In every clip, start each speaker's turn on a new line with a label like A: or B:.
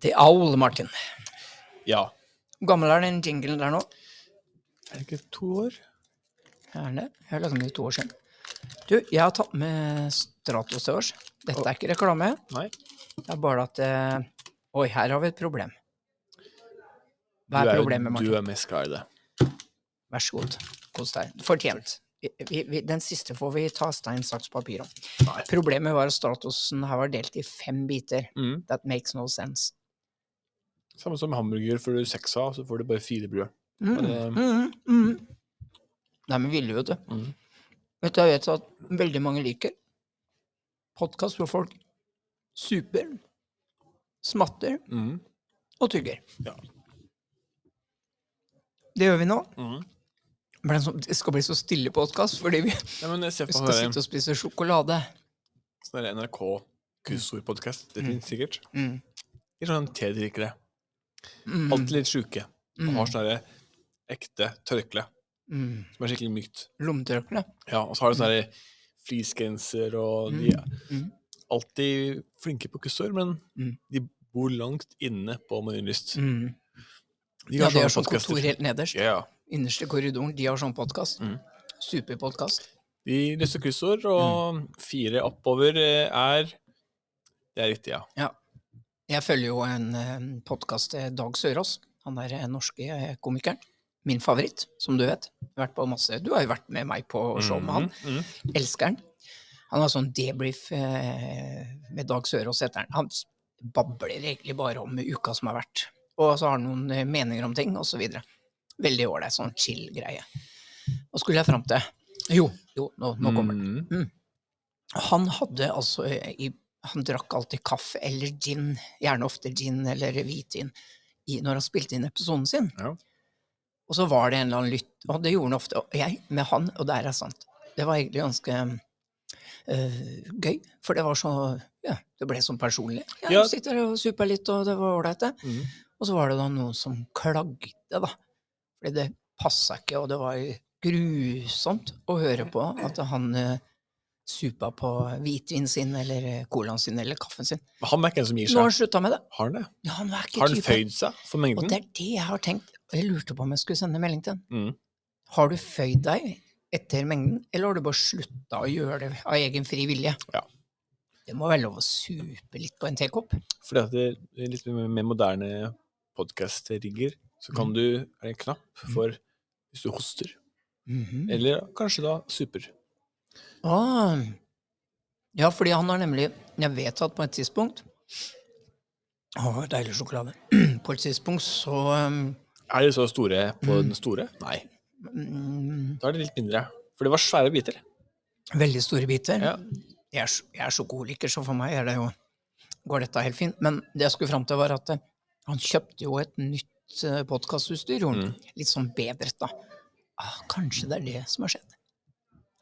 A: The Owl, Martin.
B: Ja.
A: Hvor gammel er den jinglen der nå?
B: Er det ikke to år?
A: Er den det? Jeg har lagd den for to år siden. Du, jeg har tatt med Stratos til års. Dette er ikke reklame.
B: Nei.
A: Det er bare at eh, Oi, her har vi et problem.
B: Du
A: Hva er,
B: er jo-
A: problemet, Martin?
B: Du er mest glad i det.
A: Vær så god. Kos deg. Fortjent. Vi, vi, vi, den siste får vi ta stein, saks, papir om.
B: Nei.
A: Problemet var at Stratosen her var delt i fem biter.
B: Mm.
A: That makes no sense.
B: Samme som hamburger, får du seks av, så får du bare fire brød.
A: Mm,
B: Men,
A: mm, mm. Nei, men ville jo det.
B: Mm.
A: Vet du, jeg vet at veldig mange liker podkast hvor folk super, smatter
B: Mm.
A: og tygger.
B: Ja.
A: Det gjør vi nå.
B: Mm.
A: Men det er sånn- det skal bli så stille podkast fordi vi
B: Nei, men jeg ser
A: vi
B: på
A: skal
B: sånn
A: sitte og spise sjokolade.
B: der NRK kussordpodkast. Det
A: Mm.
B: finnes sikkert.
A: Mm.
B: De er sånn tedrikkere.
A: Mm.
B: Alltid litt sjuke. Og har
A: mm,
B: sånn derre ekte tørkle
A: mm.
B: som er skikkelig mykt.
A: Lommetørkle.
B: Ja, og så har de sånn derre fleecegenser, og de er
A: Mm.
B: alltid flinke på kussord, men
A: Mm.
B: de bor langt inne på Marienlyst.
A: Mm.
B: De
A: Ja,
B: har
A: de
B: sånne
A: har sånn
B: podcaster.
A: kontor helt nederst.
B: Ja, ja.
A: Innerste korridoren. De har sånn podkast.
B: Mm.
A: Superpodkast.
B: De løser kryssord, og
A: Mm.
B: fire oppover eh, er Det er riktig, ja.
A: Jeg følger jo en podkast til Dag Sørås. Han er eh, norske eh, komikeren. Min favoritt, som du vet. Vært på masse. Du har jo vært med meg på show med han.
B: Mhm, mhm.
A: Elsker han. Han har sånn debrief eh, med Dag Sørås, heter han. Han s- babler egentlig bare om uka som har vært. Og så har han noen eh, meninger om ting, osv. Veldig ålreit. Sånn chill-greie. Hva skulle jeg fram til? Jo, jo, nå, nå kommer det.
B: Mhm.
A: Han hadde altså eh, i, Han drakk alltid kaffe eller gin, gjerne ofte gin eller hvitvin, i, når han spilte inn episoden sin.
B: Ja.
A: Og så var det en eller annen lytt Og det gjorde han ofte. Og jeg med han, og der er sant. Det var egentlig ganske eh, gøy, for det var så Ja, det ble sånn personlig. Ja,
B: Ja.
A: Du sitter og super litt, og det var ålreit, det.
B: Mhm.
A: Og så var det da noen som klagde, da. Fordi det passa ikke, og det var jo grusomt å høre på at han eh, supa på hvitvinen sin, eller eh, colaen sin, eller kaffen sin.
B: Men Han er ikke en som gir
A: Nå har
B: seg.
A: han slutta med det.
B: Har han det?
A: Ja, han er ikke
B: Har han
A: typen.
B: føyd seg for
A: Og
B: mengden?
A: det er det jeg har tenkt. Og jeg lurte på om jeg skulle sende melding til han.
B: Mhm.
A: Har du føyd deg etter mengden, eller har du bare slutta å gjøre det av egen fri vilje?
B: Ja.
A: Det må være lov å supe litt på en tekopp.
B: Fordi at det er litt mer mer moderne podkast-rigger, så
A: Mm.
B: kan du Er det en knapp for hvis du hoster?
A: Mhm.
B: Eller kanskje da super.
A: Ah. Ja, fordi han har nemlig Jeg vet at på et tidspunkt Å, deilig sjokolade. På et tidspunkt så um,
B: Er de så store på den store? Nei,
A: mm,
B: da er de litt mindre. For det var svære biter.
A: Veldig store biter.
B: Ja.
A: Jeg, er, sj- jeg er sjokoliker, så for meg er det jo, går dette helt fint. Men det jeg skulle fram til, var at eh, han kjøpte jo et nytt podkastutstyr.
B: Mm.
A: Litt sånn bedret, da. Ah, kanskje det er det som har skjedd.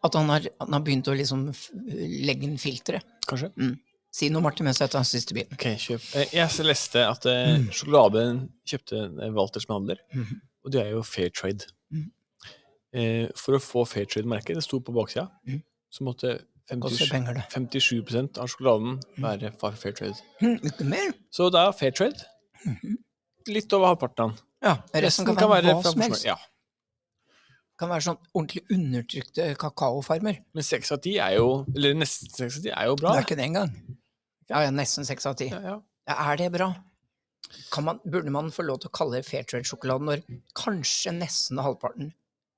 A: At han har, han har begynt å liksom f- legge inn filtre.
B: Kanskje.
A: Si noe, Martin, mens jeg tar den siste biten.
B: Ok, kjøp. Eh, Jeg leste at eh, sjokoladen kjøpte eh, Walters med handler,
A: Mm. Mhm.
B: og det er jo fair trade.
A: Mhm.
B: Eh, For å få fair trade-merket, det sto på baksida,
A: Mhm.
B: så måtte
A: Koster
B: 57,
A: penger, det.
B: 57 av sjokoladen
A: Mhm.
B: være fra fair trade.
A: Hm, Ikke mer?
B: Så det er fair trade.
A: Mhm.
B: Litt over halvparten av den.
A: Ja, resten kan, være hva
B: fra
A: som
B: Porsgrunn.
A: helst.
B: Ja.
A: Kan være sånn ordentlig undertrykte kakaofarmer.
B: Men seks av ti er jo Eller nesten seks av ti er jo bra.
A: Det er ikke det engang. Ja, ja, nesten seks av ti.
B: Ja, ja.
A: Ja, er det bra? Kan man, burde man få lov til å kalle det fair trade-sjokolade når kanskje nesten halvparten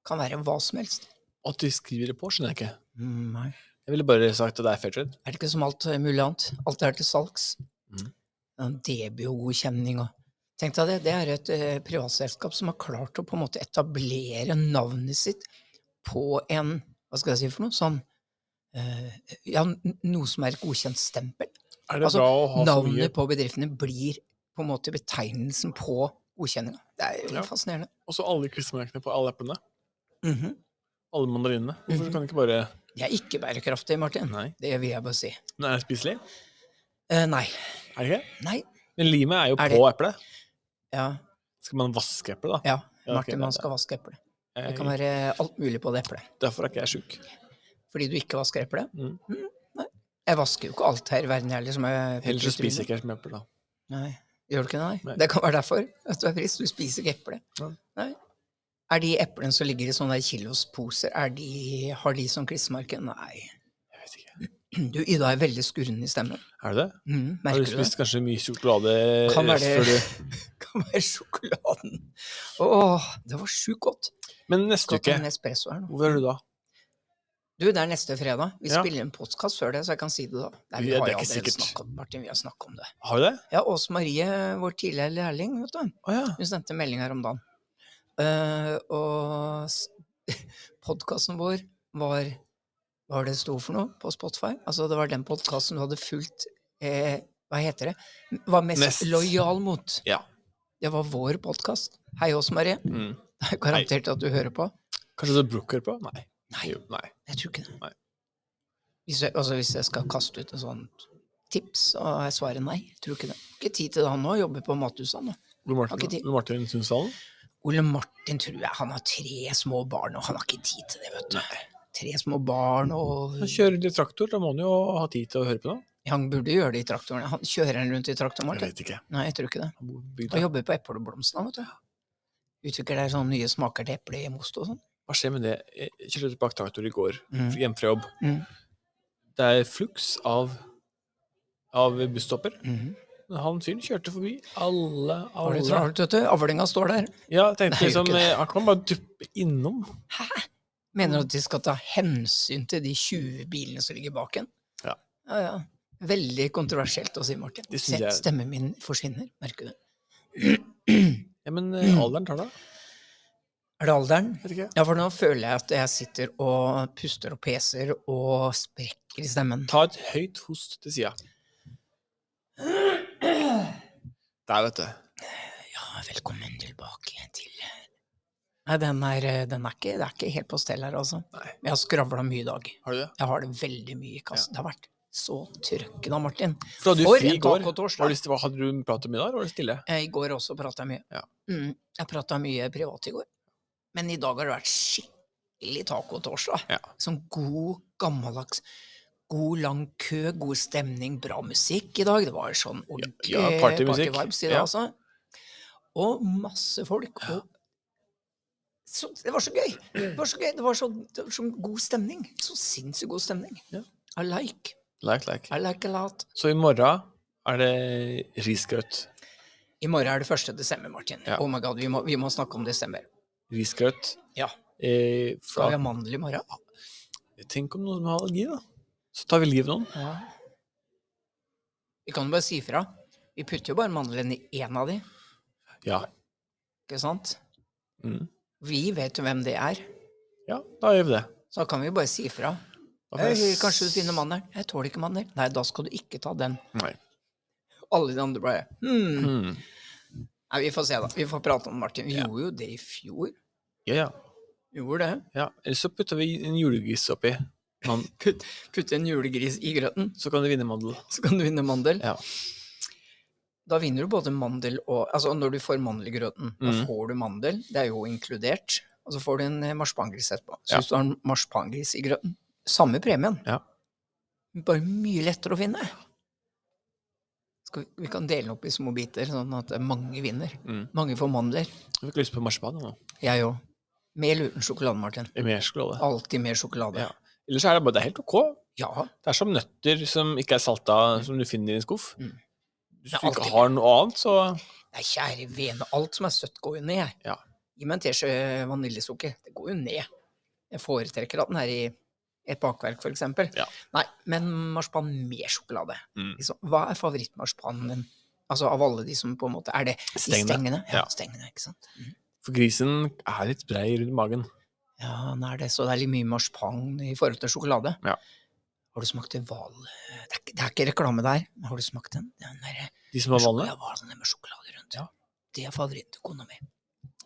A: kan være hva som helst?
B: At de skriver det på, skjønner jeg ikke.
A: Mm, Nei.
B: Jeg ville bare sagt at det er fair trade.
A: Er det ikke som alt eh, mulig annet? Alt er til salgs.
B: Mhm.
A: Mm. Debio-godkjenning og Tenk deg det, det er et eh, privatselskap som har klart å på en måte etablere navnet sitt på en Hva skal jeg si for noe? Sånn eh, Ja, n- noe som er et godkjent stempel.
B: Er det
A: Altså,
B: bra å ha så mye
A: Navnet på bedriftene blir på en måte betegnelsen på godkjenninga. Det er jo
B: Ja.
A: fascinerende.
B: Og så alle klistremerkene på alle eplene?
A: Mhm.
B: Alle mandarinene? Hvorfor
A: Mhm.
B: kan de ikke bare
A: Jeg er ikke bærekraftig, Martin.
B: Nei.
A: Det vil jeg bare si.
B: Men er det spiselig?
A: Eh, nei.
B: Er det ikke?
A: Nei.
B: Men limet er jo
A: Er
B: på eplet.
A: Ja,
B: Skal man vaske eplet, da?
A: ja.
B: Ja, ok,
A: Martin, man
B: det-
A: skal vaske eplet. Det
B: Jeg-
A: kan være alt mulig på det eplet.
B: Derfor er ikke jeg sjuk.
A: Fordi du ikke vasker eple?
B: Mm.
A: Mm, nei. Jeg vasker jo ikke alt her i verden, jeg liksom. Jeg
B: Ellers så spiser jeg ikke jeg med eple, da.
A: Nei. Gjør du ikke det? Nei.
B: Nei.
A: Det kan være derfor at du er frisk. Du spiser ikke eple.
B: Ja.
A: Nei. Er de eplene som ligger i sånne der kilosposer, er de, har de som klistremerke? Nei.
B: Jeg vet ikke.
A: Du, Ida er veldig skurrende i stemmen.
B: Er det det?
A: Mm,
B: Har
A: merker
B: du
A: du det?
B: spist kanskje mye sjokolade
A: Kan være
B: rett
A: det.
B: før du
A: kan være sjokoladen. Åh, det var sjukt godt.
B: Men neste
A: Godt
B: uke,
A: med en espresso her nå.
B: hvor er du da?
A: Du, det er neste fredag. Vi
B: Ja.
A: spiller en podkast før det, så jeg kan si det da. Nei, vi
B: Ja,
A: har
B: det er
A: jo
B: ikke
A: allerede
B: sikkert.
A: snakket om Martin, vi har snakket om det.
B: Har du det?
A: Ja, Åse Marie, vår tidligere lærling, vet du.
B: Å ja.
A: Hun sendte en melding her om dagen. Eh, og s- podkasten vår var Hva var det det sto for noe på Spotify? Altså, det var den podkasten du hadde fulgt eh, Hva heter det? Var mest,
B: Mest.
A: lojal mot.
B: Ja.
A: Det var vår podkast. Hei, Åse Marie.
B: Mm.
A: Det er garantert at du hører på.
B: Kanskje du bruker på? Nei.
A: Nei,
B: Jo, nei.
A: jeg tror ikke det.
B: Nei.
A: Hvis jeg, altså hvis jeg skal kaste ut et sånt tips, og jeg svarer nei, jeg tror ikke det. Ikke tid til det han nå, jobber på Mathuset nå.
B: Ole Martin,
A: Har ikke tid.
B: Ole Martin Sundsdalen?
A: Ole Martin tror jeg han har tre små barn, og han har ikke tid til det, vet du. Tre små barn, og
B: Han kjører litt traktor, da må han jo ha tid til å høre på noe.
A: han burde gjøre det i traktoren. Han kjører han rundt i traktoren, Martin?
B: vet ikke.
A: Nei, jeg tror ikke det.
B: Han bor på
A: Han
B: bygda.
A: jobber på epleblomstene, vet du. Utvikler der sånne nye smaker til eple i most og sånn.
B: Hva skjer med det? Jeg kjørte tilbake traktor i går,
A: Mm.
B: hjemme fra jobb.
A: Mm.
B: Det er fluks av, av busstopper.
A: Mhm.
B: Men Han fyren kjørte forbi alle,
A: Har du
B: alle.
A: travelt, vet du? Avlinga står der.
B: Ja, jeg tenkte
A: Nei,
B: liksom,
A: ikke det.
B: eh, han kan bare duppe innom.
A: Mener du at de skal ta hensyn til de 20 bilene som ligger bak en?
B: Ja.
A: ja, ja. Veldig kontroversielt å si, Martin.
B: Det synes
A: Se,
B: jeg-
A: Stemmen min forsvinner, merker du.
B: Ja, men
A: Mm.
B: eh, alderen tar det.
A: Er det alderen?
B: Vet ikke.
A: Ja, for nå føler jeg at jeg sitter og puster og peser og sprekker i stemmen.
B: Ta et høyt host til sida. Der, vet du.
A: Ja, velkommen tilbake til Nei, den er, den er, ikke, det er ikke helt på stell her, altså.
B: Nei.
A: Jeg har skravla mye i dag.
B: Har du det?
A: Jeg har det veldig mye i kassen. Det har vært så trøkken av Martin.
B: For hadde du
A: For
B: fri
A: en
B: i går.
A: tacotorsdag.
B: Var det, hva- hadde du prat om i dag, eller var det stille?
A: Eh, I går også prata jeg mye.
B: Ja.
A: Mm, jeg prata mye privat i går. Men i dag har det vært skikkelig tacotorsdag.
B: Ja.
A: Sånn god, gammeldags God, lang kø, god stemning, bra musikk i dag. Det var sånn ordentlig
B: ja, partymusikk.
A: partyvibes i dag,
B: Ja.
A: altså. Og masse folk. Og så, det var så gøy! Det var så gøy, det var så, det var så god stemning. Så sinnssykt god stemning.
B: Ja.
A: I like.
B: Like, like.
A: I like a lot.
B: Så i morgen er det risgrøt.
A: I morgen er det 1. desember, Martin.
B: Ja.
A: Oh my god, vi må, vi må snakke om desember.
B: Risgrøt.
A: Ja. Skal
B: Eh,
A: vi
B: fra,
A: ha mandel i morgen?
B: tenk om noen har allergi, da. Så tar vi livet av noen.
A: Ja. Vi kan jo bare si ifra. Vi putter jo bare mandelen i én av de,
B: Ja.
A: ikke sant?
B: Mm.
A: Vi vet jo hvem det er,
B: ja, da gjør vi det.
A: så da kan vi bare si ifra.
B: Da får
A: Hei,
B: jeg s-
A: kanskje du finner mandelen? Jeg tåler ikke mandel. Nei, da skal du ikke ta den.
B: Nei.
A: Alle de andre bare hmm.
B: Mm.
A: Nei, vi får se, da. Vi får prate om Martin. Vi
B: Ja.
A: gjorde jo det i fjor.
B: Ja, ja.
A: Vi Gjorde det.
B: ja. Eller så putter vi en julegris oppi. Man,
A: Putt, putte en julegris i grøten,
B: så kan du vinne mandel.
A: så kan du vinne mandel.
B: Ja.
A: Da vinner du både mandel og Altså, når du får mandel i grøten, da
B: Mm.
A: får du mandel, det er jo inkludert, og så får du en eh, marsipangris etterpå. Så
B: Ja.
A: hvis du har en marsipangris i grøten, samme premien,
B: Ja.
A: bare mye lettere å finne. Skal vi, vi kan dele den opp i små biter, sånn at eh, mange vinner.
B: Mm.
A: Mange får mandler.
B: Jeg fikk lyst på marsipan jeg, nå.
A: Jeg òg. Med eller uten sjokolade, Martin.
B: I mer sjokolade.
A: Alltid med sjokolade.
B: Ja. Ellers er det bare det er helt ok.
A: Ja.
B: Det er som nøtter som ikke er salta, som du finner i en skuff.
A: Mm.
B: Hvis du
A: Det er
B: ikke
A: alltid-
B: har noe annet, så
A: Nei, kjære vene, alt som er søtt går jo ned. jeg.
B: Ja.
A: Gi meg en teskje eh, vaniljesukker. Det går jo ned. Jeg foretrekker at den er i et bakverk, for eksempel.
B: Ja.
A: Nei, men marsipan med sjokolade.
B: Mm.
A: Liksom, hva er favorittmarsipanen din? Altså av alle de som på en måte Er det de
B: Stengene.
A: Ja,
B: Ja.
A: stengene, ikke sant.
B: For grisen er litt brei rundt magen.
A: Ja, den er det. Så det er litt mye marsipan i forhold til sjokolade.
B: Ja.
A: Har du smakt en hval... Det, er ikke- det er ikke reklame der, men har du smakt den? Den derre
B: De som har hvalene.
A: hvalene med sjokolade rundt.
B: Ja.
A: Det er favorittkona mi.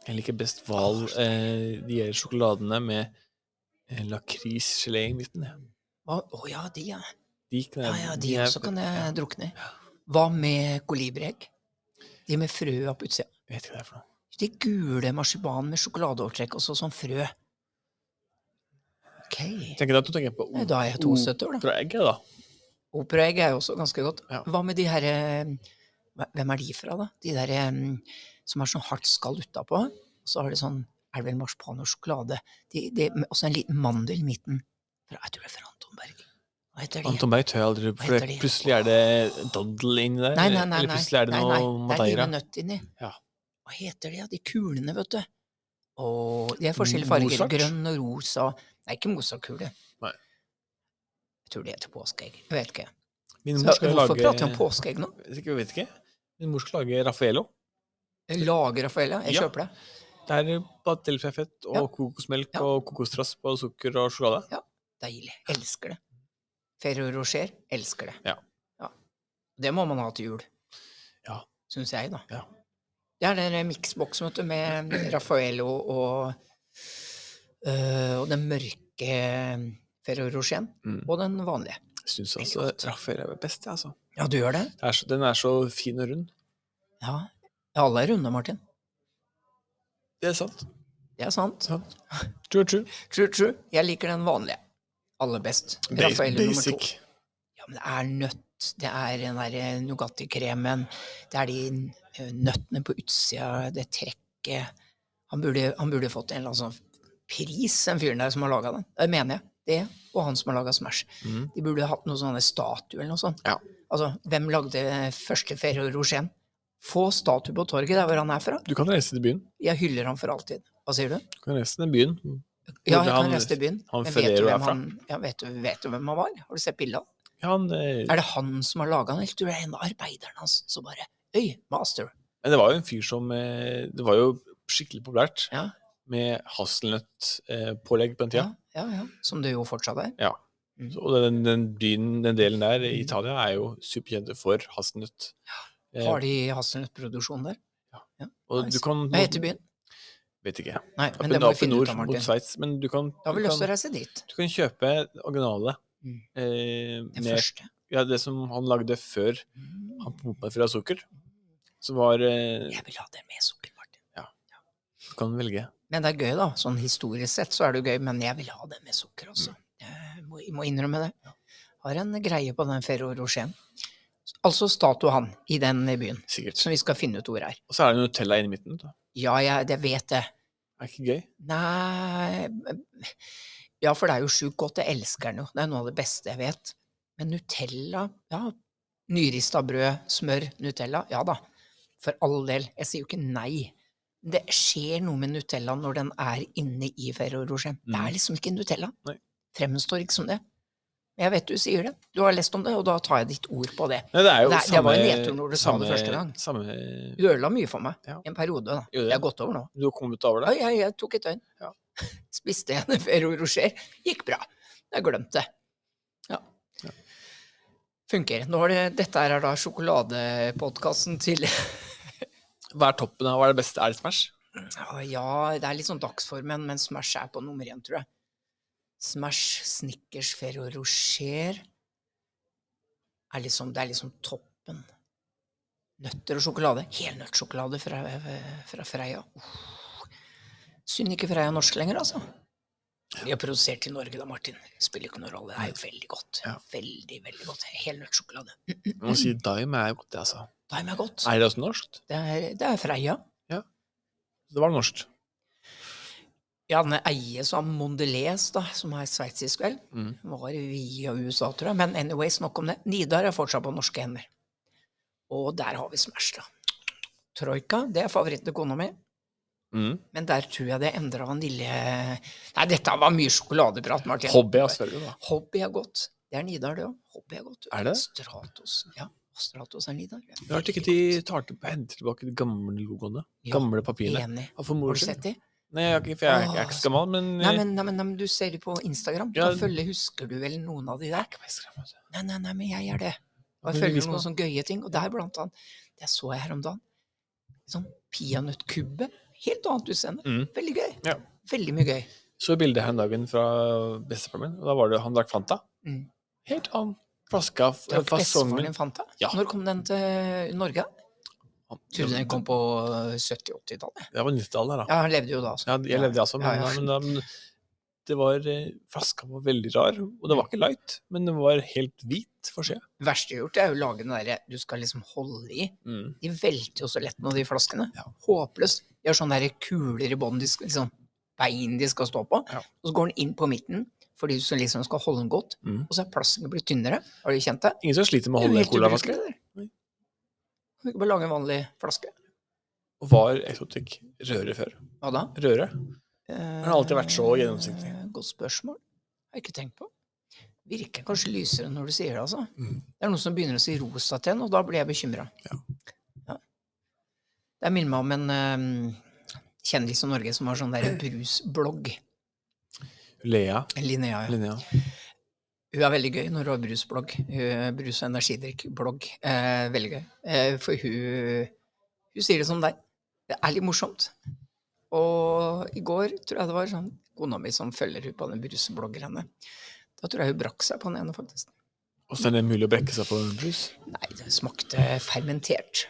B: Jeg liker best
A: Ah,
B: hval. Eh, de gjør sjokoladene med eh, lakrisgelé i midten. ja.
A: Å å ja, de, ja.
B: De, kan
A: Ja,
B: jeg-
A: Ah, ja, de
B: er-
A: også kan
B: ja,
A: jeg drukne i. Hva med kolibriegg? De med frøa på utsida.
B: Jeg vet ikke hva det er for noe.
A: De gule marsipan med sjokoladeovertrekk og så sånn frø. Ok.
B: Tenker at du tenker på
A: Nei, Da er jeg 72 år, da.
B: operaegg, da.
A: Operaegg er jo også ganske godt.
B: Ja.
A: Hva med de herre hva- Hvem er de fra, da? De der em, som har sånn hardt skall utapå. Og så har de sånn Er det vel marsipan og sjokolade? De, de, med også en liten mandel i midten. Fra, jeg tror det er fra Anton Berg. Hva heter de?
B: Anton Berg tør jeg aldri
A: Hva
B: For
A: heter de?
B: plutselig er det daddel inni der.
A: Nei, nei, nei.
B: eller
A: nei,
B: plutselig er det
A: nei,
B: noe
A: nei, Det
B: madeira.
A: er lille nøtt inni.
B: Ja.
A: Hva heter de, da? De kulene, vet du. Og de er forskjellige farger.
B: Mozart?
A: Grønn og rosa. Nei, ikke Mozart-kule.
B: Nei.
A: Jeg tror det heter påskeegg. Jeg vet ikke.
B: Min
A: Så,
B: mor skal
A: hvorfor
B: lage
A: prater vi om påskeegg nå?
B: Jeg vet ikke. Min mor skal lage Raffaello.
A: Lager Raffaella? Jeg
B: Ja.
A: kjøper det.
B: Det er eh, bare delfiafett og
A: Ja.
B: kokosmelk
A: Ja.
B: og kokosrasp og sukker og sjokolade.
A: Deilig. Elsker det. Ferro Rocher elsker det.
B: Ja.
A: Ja. Det må man ha til jul.
B: Ja.
A: Syns jeg, da.
B: Ja.
A: Det er den miksboksen, vet du, med Raffaello og øh, Og den mørke Ferro Rocheren.
B: Mm.
A: Og den vanlige.
B: Jeg syns
A: Veldig
B: altså
A: godt.
B: Raffaello er best, jeg, altså.
A: Ja, du gjør det?
B: Det er så, den er så fin og rund.
A: Ja. Alle er runde, Martin.
B: Det er sant.
A: Det er sant.
B: sant. True, true.
A: True, true. Jeg liker den vanlige. Aller best. Raffaello nummer to.
B: Basic.
A: Ja, men det er nøtt, det er den der eh, Nugatti-kremen, det er de eh, nøttene på utsida, det trekket Han burde, han burde fått en eller annen sånn pris, den fyren der som har laga den. Det mener jeg. Det, og han som har laga Smash.
B: Mm.
A: De burde hatt noen sånne statuer eller noe sånt.
B: Ja.
A: Altså, hvem lagde første Ferro Rochén? Få statue på torget der hvor han er fra.
B: Du kan reise til byen.
A: Jeg hyller ham for alltid. Hva sier du?
B: Du kan reise til byen.
A: Ja,
B: Hvor
A: jeg
B: han-
A: kan reise til byen.
B: han
A: Men vet du
B: Ferrero er
A: hvem
B: fra?
A: han, ja, vet, du, vet du hvem han var? Har du sett bildet av han?
B: Ja, han, eh,
A: Er det han som har laga den, eller tror du det er en av arbeiderne hans som bare Øy, master.
B: Men det var jo en fyr som eh, Det var jo skikkelig populært
A: Ja.
B: med hasselnøttpålegg på den tida.
A: Ja, ja, ja. Som det jo fortsatt er.
B: Så- Og den, den byen, den delen der i
A: Mm.
B: Italia, er jo superkjente for hasselnøtt. Eh,
A: Har de hasselnøttproduksjon der?
B: og du
A: nice.
B: kan
A: Hva heter byen?
B: Vet ikke.
A: Nei, men
B: Oppe
A: det må vi
B: oppe
A: finne ut
B: nord
A: av,
B: mot
A: Martin.
B: Sveits. Men du kan,
A: Da har vi
B: du,
A: lyst til å
B: kan,
A: reise dit.
B: du kan kjøpe originale.
A: Mm.
B: Eh,
A: Den
B: med,
A: første.
B: ja, det som han lagde før
A: Mm.
B: han pumpa full av sukker. Som var eh,
A: Jeg vil ha den med sukker, Martin.
B: Du kan velge.
A: Men det er gøy, da. Sånn historisk sett så er det jo gøy, men jeg vil ha den med sukker også. Jeg må, må innrømme det. Har en greie på den Ferro Rochén. Altså statue han i den byen,
B: Sikkert.
A: som vi skal finne ut hvor er.
B: Og så er det Nutella inni midten. Da.
A: Ja, jeg det vet det.
B: Er ikke gøy?
A: Nei Ja, for det er jo sjukt godt. Jeg elsker den jo. Det er noe av det beste jeg vet. Men Nutella Ja, nyrista brød, smør, Nutella. Ja da. For all del. Jeg sier jo ikke nei. Det skjer noe med Nutella når den er inne i Ferro Rocher. Det
B: Mm.
A: er liksom ikke Nutella.
B: Nei.
A: Fremstår ikke som det. Men jeg vet du sier det. Du har lest om det, og da tar jeg ditt ord på det.
B: Nei, det er jo
A: Nei, det
B: samme
A: var en nedtur når du sa det første gang.
B: Samme
A: Du ødela mye for meg.
B: Ja.
A: En periode, da.
B: Gjorde det?
A: Det er gått over nå.
B: Du har kommet over
A: Ja,
B: det?
A: jeg, jeg tok et døgn.
B: Ja.
A: Spiste en Ferro Rocher. Gikk bra. Jeg glemte det. Ja.
B: Ja.
A: Funker. Nå er det, dette her er da sjokoladepodkasten til
B: Hva er toppen av hva er det beste? Er det Smash?
A: Ah, Ja, det er litt sånn dagsformen, men Smash er på nummer én, tror jeg. Smash, Snickers, Ferro Rocher er liksom, Det er liksom toppen. Nøtter og sjokolade. Helnøttsjokolade fra, fra Freia. Uff. Synd ikke Freia er norsk lenger, altså. De har produsert i Norge, da, Martin. Spiller ikke noen rolle. Det er jo veldig godt.
B: Ja.
A: Veldig, veldig godt. Helnøttsjokolade.
B: Man må si Dime er jo godt, det, altså.
A: Daim er godt.
B: Er det også norsk?
A: Det er, det er Freia.
B: Det var norsk.
A: Ja, den eies av Mondelez, da, som er sveitsisk, vel.
B: Mm.
A: Var via USA, tror jeg. Men anyways, nok om det. Nidar er fortsatt på norske hender. Og der har vi Smash, da. Troika, det er favoritten til kona mi.
B: Mm.
A: Men der tror jeg det endra vanilje... Nei, dette var mye sjokoladeprat, Martin.
B: Hobby av Sverige, da.
A: Hobby er godt. Det er Nidar, det òg. Hobby er godt.
B: Er det?
A: Stratos. Ja, Stratos er Nidar. Det
B: Det er rart ikke de tar til, henter tilbake de gamle logoene.
A: Ja,
B: Gamle papirene.
A: Enig.
B: Hvorfor mor
A: Har du
B: sin?
A: sett de?
B: Nei, jeg, har ikke- for jeg, er- jeg er ikke så gammel, men
A: Nei, men, nei, men, nei, men du ser de på Instagram.
B: Ja.
A: Da følger, husker du vel noen av de der?
B: Hva skal jeg gjøre?
A: Nei, nei, nei, men jeg gjør det. Og
B: Men
A: jeg følger
B: vis meg.
A: noen sånne gøye ting. Og der blant annet, det så jeg her om dagen, sånn peanøttkubbe. Helt annet utseende.
B: Mm.
A: Veldig gøy.
B: Ja.
A: Veldig mye gøy.
B: Så bildet her en dagen fra bestefaren min, og da var det han drakk Fanta.
A: Mm.
B: Helt annen flaske av
A: Drakk bestefaren
B: fasongen.
A: din Fanta?
B: Ja.
A: Når kom den til Norge?
B: Han-
A: Trodde den kom på 70-80-tallet.
B: Det var 90-tallet, da.
A: Ja, han levde jo da. altså.
B: Ja, jeg levde jeg også, men,
A: Ja, ja.
B: men da- men det var eh, Flaska var veldig rar, og
A: Mm.
B: den var ikke light, men den var helt hvit for seg.
A: verste jeg har gjort, er jo å lage den derre du skal liksom holde i. De velter jo så lett nå, de flaskene.
B: Ja.
A: Håpløst. De har sånne der kuler i bånn, de skal- liksom, bein de skal stå på.
B: Ja.
A: Og så går den inn på midten, fordi du liksom skal holde den godt.
B: Mm.
A: Og så er plasten blitt tynnere. Har du kjent det?
B: Ingen som sliter med å
A: Det er
B: holde
A: jo helt
B: colaflasker.
A: ubrukelig, det der.
B: Nei.
A: Kan du ikke bare lage en vanlig flaske?
B: Og var eksotikk røre før?
A: Hva da?
B: Røre?
A: Den
B: har alltid vært så gjennomsiktig.
A: Godt spørsmål. Har jeg ikke tenkt på. Virker kanskje lysere når du sier det, altså.
B: Mm.
A: Det er noen som begynner å si rosa til en, og da blir jeg bekymra.
B: Ja.
A: Det minner meg om en eh, kjendis i Norge som har sånn der brusblogg.
B: Lea.
A: Linnea. Ja.
B: Linnea.
A: Hun er veldig gøy når hun har brusblogg. Hun- Brus- og energidrikkblogg. Eh, veldig gøy. Eh, for hun, hun sier det som deg. Det er litt morsomt. Og i går tror jeg det var sånn kona mi som følger hun på den brusbloggerne. Da tror jeg hun brakk seg på den ene, faktisk.
B: Åssen er det mulig å brekke seg på en brus?
A: Nei, det smakte fermentert.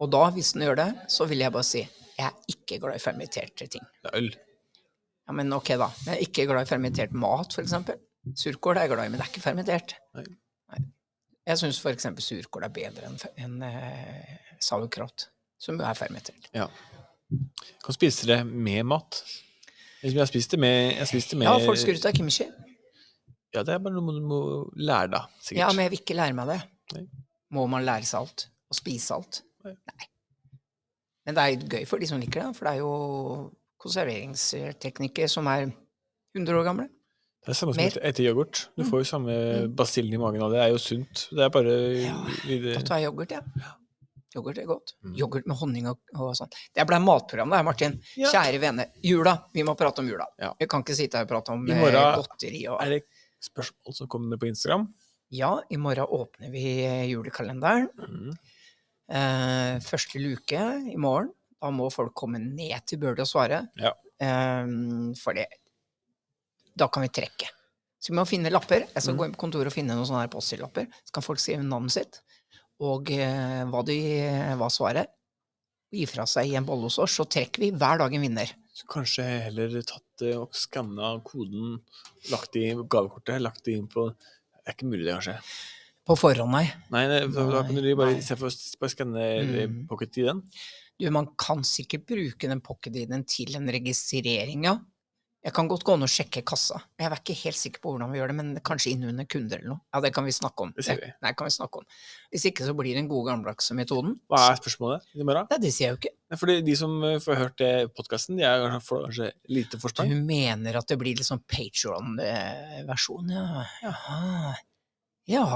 A: Og da, hvis den gjør det, så vil jeg bare si jeg er ikke glad i fermenterte ting.
B: Det er øl.
A: Ja, men ok da. Jeg er ikke glad i fermentert mat, for eksempel. Surkål er jeg glad i, men det er ikke fermentert.
B: Nei.
A: Nei. Jeg syns for eksempel surkål er bedre enn en, sauerkraut, som jo er fermentert.
B: Ja. Kan spise det med mat. Liksom, jeg spiste det med, jeg spiste med
A: Ja, folk skryter av kimchi.
B: Ja, det er bare noe du må lære deg, sikkert.
A: Ja, men jeg vil ikke lære meg det.
B: Nei.
A: Må man lære seg alt? Og spise alt?
B: Nei.
A: Men det er gøy for de som liker det, for det er jo konserveringsteknikker som er 100 år gamle.
B: Det er samme som
A: Mer. Mm.
B: etter, etter yoghurt. Du får jo samme basillen i magen av det. Det er jo sunt. Det er bare
A: Ja,
B: lite-
A: Da tar jeg yoghurt, ja. Yoghurt er godt.
B: Mm.
A: Yoghurt med honning og, og sånn. Det ble matprogram, det her, Martin.
B: Ja.
A: Kjære vene. Jula. Vi må prate om jula.
B: Ja.
A: Vi kan ikke sitte her og prate om
B: I
A: eh,
B: morgen-
A: godteri og
B: Er det spørsmål som kommer på Instagram?
A: Ja, i morgen åpner vi eh, julekalenderen.
B: Mm.
A: Eh, første luke i morgen. Da må folk komme ned til Bøhler og svare.
B: Ja.
A: Eh, for det Da kan vi trekke. Så vi må finne lapper. Jeg skal
B: Mm.
A: gå inn på kontoret og finne noen sånne her post-it-lapper. Så kan folk skrive navnet sitt og eh, hva, de, hva svaret er. Gi fra seg i en bolle hos oss, så trekker vi hver dag en vinner.
B: Så kanskje heller tatt eh, og skanna koden, lagt i gavekortet, lagt det inn på Det er ikke mulig, det, kanskje.
A: På forhånd, nei.
B: Nei, det, da, da kan du
A: Nei,
B: bare
A: nei.
B: istedenfor å bare skanne
A: Mm.
B: mm. pocket i den.
A: Du, man kan sikkert bruke den pocket-ID-en til en registrering, ja. Jeg kan godt gå inn og sjekke kassa. Jeg er ikke helt sikker på hvordan vi gjør det, men kanskje inn under kunder eller noe. Ja, det kan vi snakke om.
B: Det sier vi.
A: Nei, kan vi snakke om. Hvis ikke så blir den gode gammeldagse metoden.
B: Hva er spørsmålet i morgen?
A: Nei, det sier jeg jo ikke.
B: Nei, Fordi de som eh, får hørt det i podkasten, de er kanskje, får kanskje lite
A: Du
B: forsprang.
A: mener at det blir litt sånn Patron-versjon, ja. Jaha. Ja.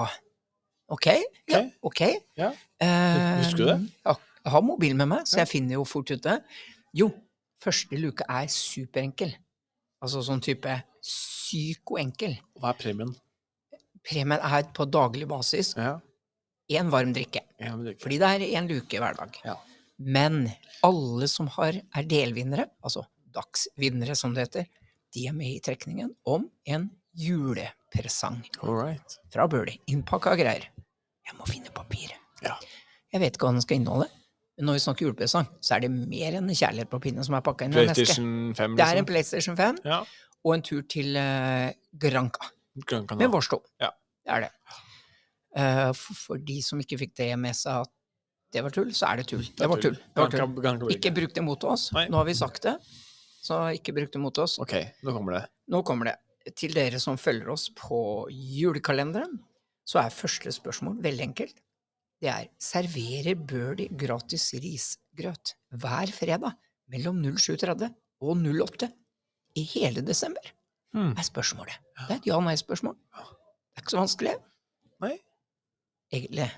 A: Ok. Ja. Ok.
B: Ja.
A: Eh,
B: Husker du det?
A: Ja, jeg har mobil med meg, så
B: Ja.
A: jeg finner jo fort ut det. Jo, første luke er superenkel. Altså sånn type psykoenkel.
B: Hva er premien?
A: Premien er på daglig basis
B: Ja.
A: én varm drikke.
B: ja men det er ikke.
A: Fordi det er én luke hver dag.
B: Ja.
A: Men alle som har, er delvinnere, altså dagsvinnere som det heter, de er med i trekningen om en julepresang
B: All right.
A: fra Bøhler. Innpakka greier. Jeg må finne papiret.
B: Ja.
A: Jeg vet ikke hva den skal inneholde. Men når vi snakker julepresang, så er det mer enn en kjærlighet på pinne som er pakka inn i en eske.
B: PlayStation 5,
A: Det er en
B: liksom.
A: PlayStation 5
B: Ja.
A: og en tur til eh, Granca
B: Grønn
A: med
B: kanal.
A: Vårstå.
B: Ja.
A: Det er det. Eh, for, for de som ikke fikk det med seg at det var tull, så er det tull. Det var tull. Det var tull.
B: Grønn- grønn kanal.
A: Ikke bruk det mot oss.
B: Nei.
A: Nå har vi sagt det, så ikke bruk det mot oss.
B: Ok, nå kommer det.
A: Nå kommer det. Til dere som følger oss på julekalenderen, så er første spørsmål veldig enkelt. Det er serverer Birdie gratis risgrøt hver fredag mellom 07.30 og 08 i hele desember?
B: Hmm.
A: er spørsmålet. Det er et ja-nei-spørsmål. Det er ikke så vanskelig.
B: Nei.
A: Egentlig.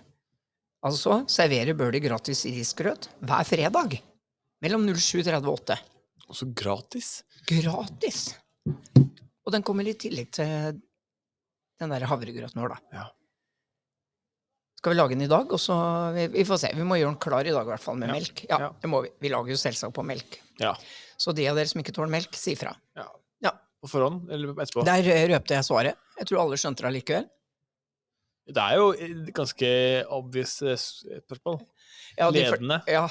A: Altså serverer Birdie gratis risgrøt hver fredag mellom 07.30 og 8
B: Og så gratis.
A: gratis. Og den kommer i tillegg til den der havregrøten vår, da.
B: Ja.
A: Skal vi lage den i dag? Og så, vi, vi får se. Vi må gjøre den klar i dag, i hvert fall, med
B: Ja,
A: melk. Ja,
B: ja.
A: det må vi. Vi lager jo selvsagt på melk.
B: Ja.
A: Så de av dere som ikke tåler melk, si fra.
B: ja.
A: Ja.
B: På forhånd eller etterpå?
A: Der eh, røpte jeg svaret. Jeg tror alle skjønte det allikevel.
B: Det er jo et ganske obvious eh, s- spørsmål.
A: Ja, de fyr-
B: Ledende.
A: ja,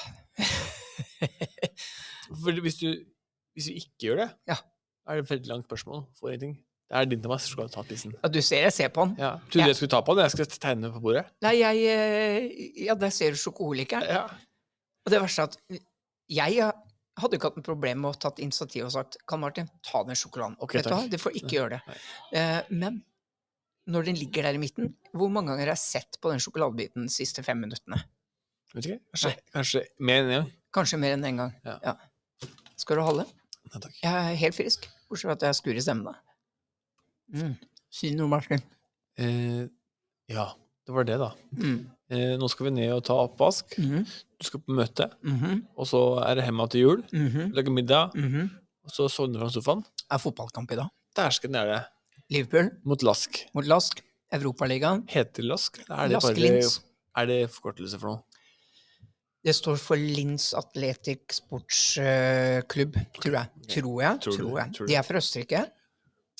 B: For hvis du, hvis du ikke gjør det,
A: Ja.
B: Da er det et veldig langt spørsmål. Får ingenting. Det er din, Thomas. Du skal ta tissen.
A: Ja, du ser jeg ser på han.
B: Ja. Trodde
A: Ja.
B: jeg skulle ta på den. Jeg skal tegne på bordet.
A: Nei, jeg eh, Ja, der ser du sjokoholikeren.
B: Ja.
A: Og det verste er at jeg hadde ikke hatt noe problem med å tatt initiativ og sagt Kan Martin, ta den sjokoladen.
B: Ok,
A: Vet du hva,
B: takk.
A: du får ikke gjøre det. Eh, men når den ligger der i midten, hvor mange ganger har jeg sett på den sjokoladebiten de siste fem minuttene?
B: Vet ikke. Kanskje, kanskje mer enn én gang.
A: Kanskje mer enn én gang.
B: Ja.
A: Skal du holde?
B: Nei takk.
A: Jeg er helt frisk, bortsett fra at jeg skur i stemmen. da. Mm. Si noe, Martin.
B: Eh, ja, det var det, da.
A: Mm.
B: Eh, nå skal vi ned og ta oppvask.
A: Mhm,
B: Du skal på møte,
A: mhm,
B: og så er det hjemme til jul.
A: mhm,
B: Lage middag,
A: mhm.
B: og så sovner du på sofaen.
A: Er fotballkamp i dag?
B: Dæsken er det.
A: Liverpool
B: Mot Lask.
A: mot Lask. Europaligaen.
B: Heter det Lask? eller Er det, bare,
A: Lask-Lins.
B: er det forkortelse for noe?
A: Det står for Linz Athletic Sportsklubb, tror jeg. Tror jeg.
B: Tror du-
A: Tror jeg.
B: tror du-
A: De er fra Østerrike.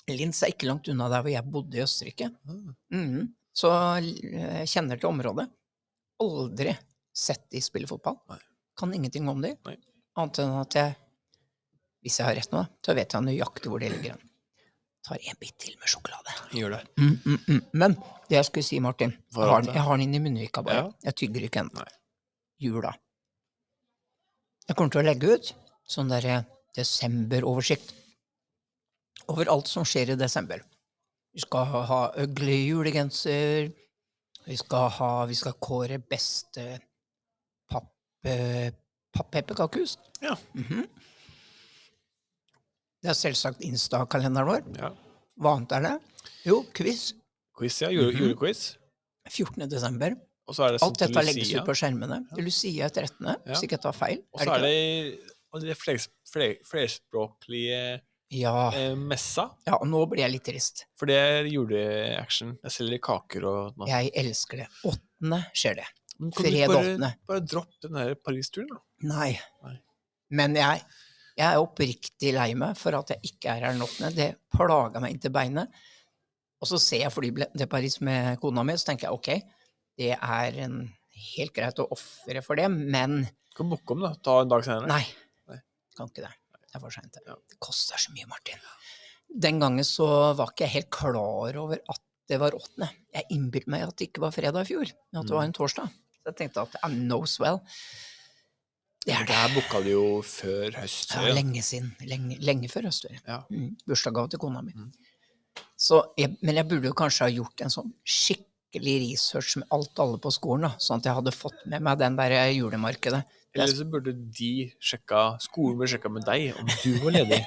A: Linz er ikke langt unna der hvor jeg bodde i Østerrike.
B: Ah,
A: Mhm. Så eh, kjenner til området. Aldri sett de spille fotball.
B: Nei.
A: Kan ingenting om de.
B: Nei.
A: Annet enn at jeg, hvis jeg har rett nå, så vet jeg nøyaktig hvor de ligger. hen. Tar en bit til med sjokolade.
B: Gjør det.
A: Mm, mm, mm. Men det jeg skulle si, Martin
B: Hva er
A: Jeg har, den-
B: det?
A: jeg har den inni munnvika bare.
B: Ja.
A: Jeg tygger ikke ennå.
B: Nei.
A: Jula. Jeg kommer til å legge ut sånn derre desemberoversikt over alt som skjer i desember. Vi skal ha, ha øgle julegenser. Vi skal, ha, vi skal kåre beste papp, eh, papp-pepperkakehus.
B: Ja.
A: Mhm. Det er selvsagt Insta-kalenderen vår.
B: Ja.
A: Hva annet er det? Jo, quiz.
B: Quiz, ja. Jule,
A: Mhm.
B: Julequiz.
A: 14. desember.
B: Og så er det
A: Alt
B: Santa
A: dette legges
B: Lucia.
A: ut på skjermene. Lucia er 13.,
B: Ja.
A: hvis ikke jeg tar feil.
B: Og så er
A: ikke
B: det og det flers, fler, flerspråklige
A: Ja.
B: eh, messa.
A: ja, og nå blir jeg litt trist.
B: For det er juleaction. Jeg selger kaker og noe.
A: Jeg elsker det. 8. skjer det.
B: Men kan
A: Fred
B: du bare,
A: 8.
B: bare droppe den der Paris-turen, da?
A: Nei.
B: Nei.
A: Men jeg, jeg er oppriktig lei meg for at jeg ikke er her den 8. Det plaga meg inntil beinet. Og så ser jeg flybilletten til Paris med kona mi, så tenker jeg ok, det er en, helt greit å ofre for det, men
B: Du kan booke om, da. Ta en dag senere.
A: Nei.
B: Nei.
A: Kan ikke det. Det er for seint. det.
B: Ja.
A: Det koster så mye, Martin. Den gangen så var ikke jeg helt klar over at det var åttende. Jeg innbilte meg at det ikke var fredag i fjor, men at det var
B: Mm.
A: en torsdag. Så jeg tenkte at I know swell. Det er
B: Det
A: det.
B: her booka du jo før
A: Det
B: høstferien.
A: var lenge siden. Lenge, lenge før høstferien.
B: Ja.
A: Mm, Bursdagsgave til kona mi.
B: Mm.
A: Så jeg, men jeg burde jo kanskje ha gjort en sånn skikkelig research med alt alle på skolen, da, sånn at jeg hadde fått med meg den der julemarkedet.
B: Eller så burde de sjekka Skolen burde sjekka med deg om du var ledig.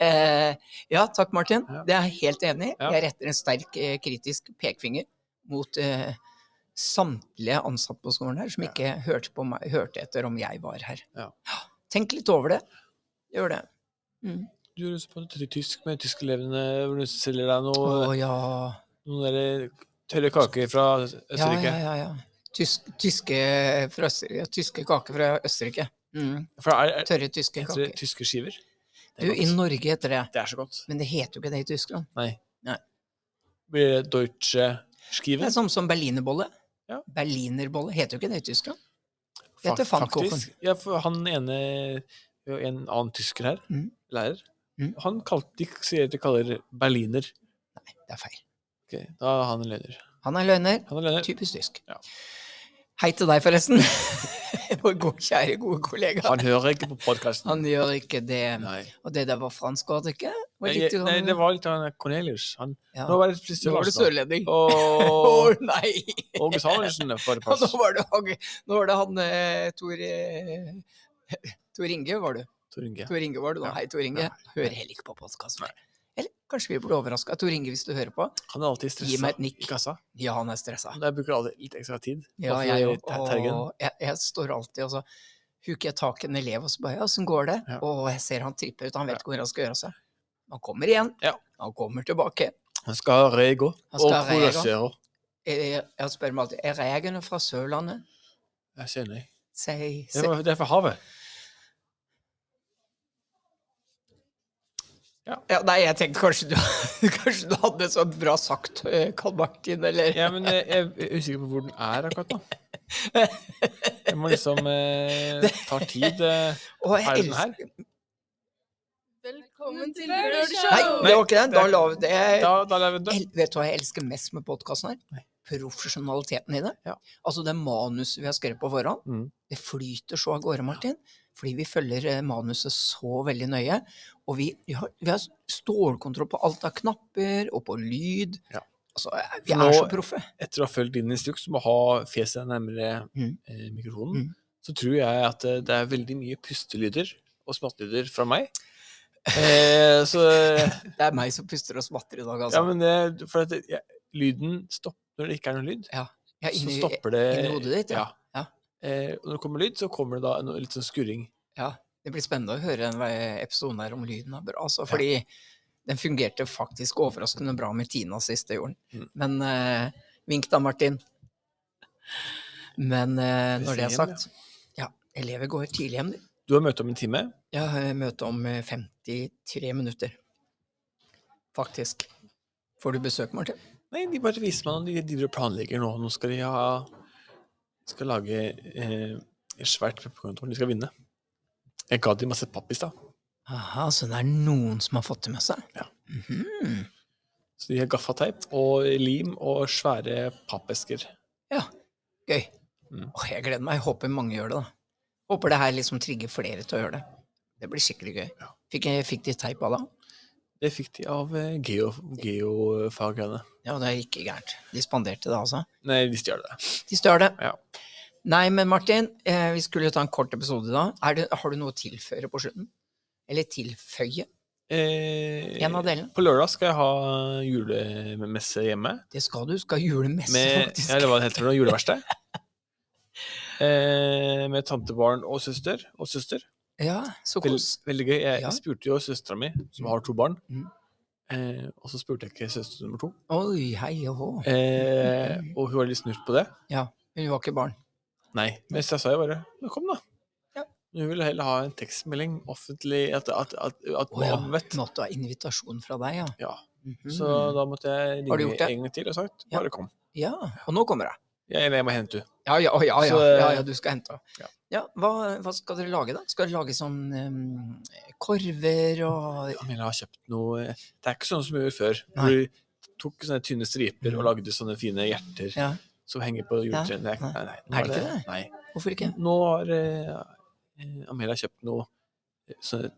A: Eh, ja, takk, Martin.
B: Ja.
A: Det er jeg helt enig i.
B: Ja.
A: Jeg retter en sterk eh, kritisk pekefinger mot eh, samtlige ansatte på skolen her som
B: Ja.
A: ikke hørte, på meg, hørte etter om jeg var her.
B: Ja.
A: Tenk litt over det. Gjør det. Mm.
B: Du høres på ty- tysk med tyskelevende hvor du selger deg
A: Å
B: noe,
A: ja.
B: noen der eh, tørre kaker fra
A: Ja,
B: Østerrike.
A: ja, ja. ja. Tysk, tyske, fra Østerrike, tyske kaker fra Østerrike. Mm.
B: For er, er,
A: Tørre tyske
B: heter det
A: kaker.
B: tyske skiver? Det
A: Du,
B: er,
A: I
B: godt.
A: Norge heter det,
B: det er så godt.
A: men det heter jo ikke det i Tyskland.
B: Blir det deutsche
A: Det
B: skiven?
A: er sånn som berlinerbolle.
B: Ja.
A: Berlinerbolle heter jo ikke det i Tyskland. det heter
B: Fak-
A: Pfannkuchen.
B: faktisk. Ja, for han ene jo, En annen tysker her,
A: Mhm.
B: lærer,
A: Mhm.
B: han kalte, de sier at de kaller berliner.
A: Det er feil.
B: Ok, da er han en løgner.
A: Han er løgner.
B: Han er løgner.
A: Typisk tysk.
B: Eh, Ja.
A: Hei til deg, forresten. Vår gode, kjære, gode kollega.
B: Han hører ikke på podkasten.
A: Han gjør ikke det.
B: Nei.
A: Og det der var fransk, var det ikke? Hva
B: Nei,
A: gikk
B: jeg-
A: du-
B: nei, det var litt han Cornelius. Han,
A: ja.
B: Nå var det
A: Nå var det
B: plutselig
A: sørlending. Å
B: Og
A: nei!
B: Åge Samuelsen var det
A: Ja, nå,
B: pass.
A: var det, Hage- nå var det han eh, Tor eh, Tor Inge, var du.
B: Tor Inge.
A: Tor Inge var du da.
B: Ja.
A: Hei, Tor Inge.
B: Ja.
A: Hører heller ikke på podkasten. Eller kanskje vi burde overraska Tor Inge hvis du hører på.
B: Han er alltid
A: Gi meg
B: stressa
A: et nikk.
B: i kassa.
A: Ja, han er stressa.
B: Men Jeg bruker alltid litt ekstra tid.
A: Ja,
B: Bare for
A: jeg
B: å
A: òg.
B: ta- Tergen.
A: Jeg, jeg står alltid og så huker jeg tak i en elev og så bare 'Åssen går det?'
B: Ja.
A: Og jeg ser han tripper ut, han vet
B: Ja.
A: ikke hvor han skal gjøre av seg. Han kommer igjen.
B: Ja.
A: Han kommer tilbake.
B: Han skal ha rego
A: Han skal
B: og
A: ha rego.
B: produsere.
A: Jeg, jeg spør meg alltid 'Er regene fra Sørlandet?'
B: Jeg ser nei.
A: Sei,
B: Det
A: sei.
B: var- det er fra havet.
A: Ja, nei, jeg tenkte kanskje du, kanskje du hadde så bra sagt, eh, Karl Martin, eller
B: Ja, men eh, jeg, jeg er usikker på hvor den er akkurat nå. Jeg må liksom eh, tar tid. Eh.
A: Og jeg
B: Er det den
A: elsker
C: Velkommen til
A: Nei,
C: Nerdshow!
A: det var ikke det. Da
B: det-
A: la vi det.
B: Da, da lar vi det.
A: El, vet du hva jeg elsker mest med podkasten her? Profesjonaliteten i det.
B: Ja.
A: Altså det manuset vi har skrevet på forhånd.
B: Mm.
A: Det flyter så av gårde, Martin. Fordi vi følger eh, manuset så veldig nøye. Og vi, vi, har, vi har stålkontroll på alt av knapper og på lyd.
B: Ja.
A: Altså, eh, vi
B: For
A: er så
B: nå-
A: proffe.
B: Etter å ha fulgt din instruks om å ha fjeset nærmere
A: Mm.
B: eh, mikrofonen,
A: Mm.
B: så tror jeg at eh, det er veldig mye pustelyder og smattelyder fra meg. Eh, så
A: Det er meg som puster og smatter i dag, altså.
B: Ja, men det, for at det, ja, lyden stopper når det ikke er noe lyd.
A: Jeg er
B: så
A: inni-
B: stopper det
A: inni hodet ditt, ja. Ja.
B: Eh, og når det kommer lyd, så kommer det da en litt sånn skurring.
A: Det blir spennende å høre den eh, episoden her om lyden er bra, altså, fordi den fungerte faktisk overraskende bra med Tina sist, det gjorde den.
B: Mm.
A: Men eh, vink da, Martin. Men eh, når det er
B: Hjem, ja.
A: sagt Ja, elever går tidlig hjem, de.
B: Du har møte om en time.
A: Jeg har møte om eh, 53 minutter. Faktisk. Får du besøk, Martin?
B: Nei, de bare viser meg noe. De driver og planlegger nå. Nå skal de ha skal lage eh, et svært pepperkorntårn. De skal vinne. Jeg ga dem masse papp i stad,
A: Aha, så det er noen som har fått det med seg?
B: Ja.
A: Mhm.
B: så de har gaffateip og lim og svære pappesker.
A: Gøy.
B: Mm.
A: Åh, jeg gleder meg. Jeg håper mange gjør det, da. Håper det her liksom trigger flere til å gjøre det. Det blir skikkelig gøy.
B: Ja.
A: Fikk, jeg, fikk de teip av da?
B: Det fikk de av eh, geo, geofagene.
A: Ja, det gikk gærent. De spanderte det, altså.
B: Nei, de stjal det.
A: De stør det.
B: Ja.
A: Nei, men Martin, eh, vi skulle jo ta en kort episode da. Er det, har du noe å tilføre på slutten? Eller tilføye?
B: Eh,
A: En av delene.
B: På lørdag skal jeg ha julemesse hjemme.
A: Det skal du. Skal julemesse,
B: Med,
A: faktisk.
B: ja, eller hva det heter for noe, juleverksted. Eh, med tantebarn og søster. Og søster.
A: Ja, så
B: Vel,
A: kos.
B: veldig gøy. Jeg
A: Ja.
B: spurte jo søstera mi, som har to barn,
A: Mm.
B: eh, og så spurte jeg ikke søster nummer to.
A: Oi, hei og hå.
B: Eh,
A: Mm.
B: og hun var litt snurt på det.
A: Hun var ikke barn.
B: Nei. Men så sa jeg bare Nå kom, da.
A: Ja.
B: Hun ville heller ha en tekstmelding offentlig at, at, at, at
A: Å ja,
B: man
A: hun
B: vet.
A: måtte ha invitasjon fra deg, ja.
B: Ja.
A: Mhm.
B: Så da måtte jeg
A: Har du
B: ringe
A: gjort det?
B: en gang til og sagt
A: Ja.
B: bare kom.
A: Ja, og nå kommer jeg.
B: Jeg, eller jeg må hente henne.
A: Ja, ja, å, ja, ja,
B: Så,
A: ja,
B: eh,
A: ja du skal hente henne.
B: ja.
A: Ja, hva, hva skal dere lage, da? Skal dere lage sånn eh, korver og
B: Camilla har kjøpt noe Det er ikke sånn som vi gjorde før.
A: Nei. Mm.
B: Hvor vi tok sånne tynne striper og lagde sånne fine hjerter
A: Ja,
B: som henger på juletrærne. Det er- Nei, nei, nå
A: Er det ikke det?
B: Nei.
A: hvorfor ikke?
B: Nå har eh, eh, Amelia kjøpt noe eh, sånne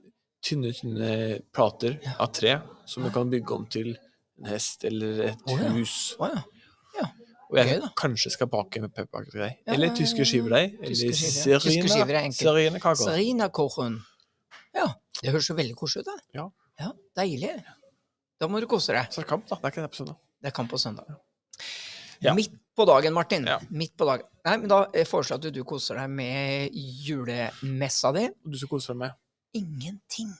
B: tynne, tynne plater
A: Ja.
B: av tre som du kan bygge om til en hest eller et
A: Å, ja.
B: hus.
A: Å ja.
B: Og jeg
A: Gøy, da.
B: kanskje skal bake med pepperkaker til deg.
A: Ja, ja,
B: eller
A: ja,
B: tyske
A: ja.
B: skivedeig.
A: Tyske
B: Eller
A: skiver. Tyske skiver er
B: serine-
A: enkelt.
B: serinekaker.
A: Serinakochen. Ja, det høres jo veldig koselig ut, da.
B: Ja.
A: ja. Deilig. Da må du kose deg.
B: Så er det kamp, da. Det er ikke en episode.
A: Det er kamp på søndag.
B: Ja.
A: Midt på dagen, Martin.
B: Ja.
A: Midt på dagen. Nei, men da eh, foreslår jeg at du koser deg med julemessa di.
B: Og du skal kose deg med
A: Ingenting.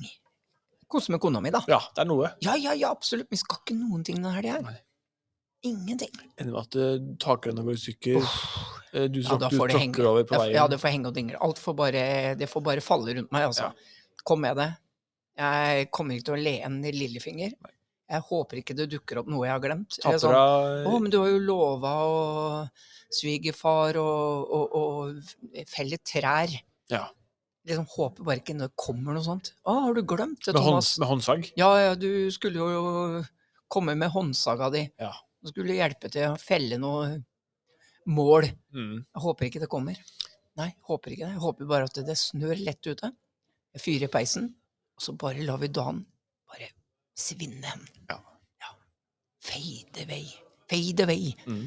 A: Kose med kona mi, da.
B: Ja, det er noe.
A: Ja, ja, ja, absolutt. Vi skal ikke noen ting denne helga her.
B: Nei.
A: Ingenting.
B: Ender med at eh, takrenna går i stykker. eh, Du,
A: Ja,
B: tråk,
A: da
B: du
A: får det henge.
B: tråkker over på
A: Jeg-
B: veien.
A: Ja, det får henge og dingle. Alt får bare, det får bare falle rundt meg, altså. Kom med det. Jeg kommer ikke til å le en lillefinger. Jeg håper ikke det dukker opp noe jeg har glemt. Jeg er
B: Tapper
A: sånn,
B: av eh,
A: Å, men du har jo lova og svigerfar og, og, og felle trær.
B: Ja.
A: Liksom håper bare ikke det kommer noe sånt. Å, har du glemt det,
B: med, hånd,
A: Thomas?
B: med håndsag.
A: Ja, ja, du skulle jo komme med håndsaga di.
B: Ja.
A: Du skulle hjelpe til å felle noe mål.
B: Mm.
A: Jeg håper ikke det kommer. Nei, jeg håper ikke det. Jeg håper bare at det snør lett ute. Jeg fyrer i peisen, og så bare lar vi dagen bare svinne hen.
B: Ja.
A: ja. Fade away. Fade away,
B: Mm.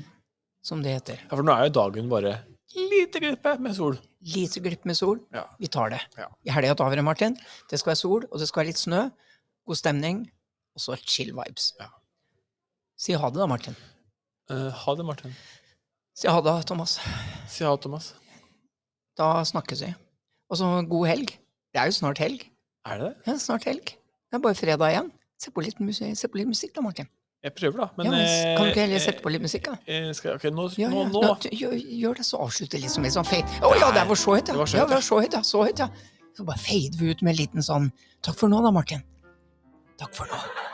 A: som det heter.
B: Ja, for nå er jo dagen bare lite glippe med sol.
A: Lite glipp med sol.
B: Ja.
A: Vi tar det.
B: Ja.
A: I helga tar vi det, Martin. Det skal være sol, og det skal være litt snø. God stemning, og så chill vibes.
B: Ja.
A: Si ha det, da, Martin.
B: Eh, ha det, Martin.
A: Si ha det, Thomas.
B: Si ha det, Thomas.
A: Da snakkes vi. Og så god helg. Det er jo snart helg.
B: Er det det?
A: Ja, snart helg. Det er bare fredag igjen. Se på litt musikk, se på litt musikk da, Martin.
B: Jeg prøver, da. Men
A: ja, men s- kan du ikke heller
B: eh,
A: sette på litt musikk, da?
B: eh, skal, ok, nå,
A: Ja,
B: nå,
A: ja.
B: nå.
A: Nå, t- gjør, gjør det, så avslutter liksom litt sånn fade. Å ja, det
B: Nei,
A: var så høyt, ja.
B: det var så
A: ja,
B: høyt,
A: det var så høyt, ja. Så høyt, ja. Så bare fader vi ut med en liten sånn Takk for nå, da, Martin. Takk for nå.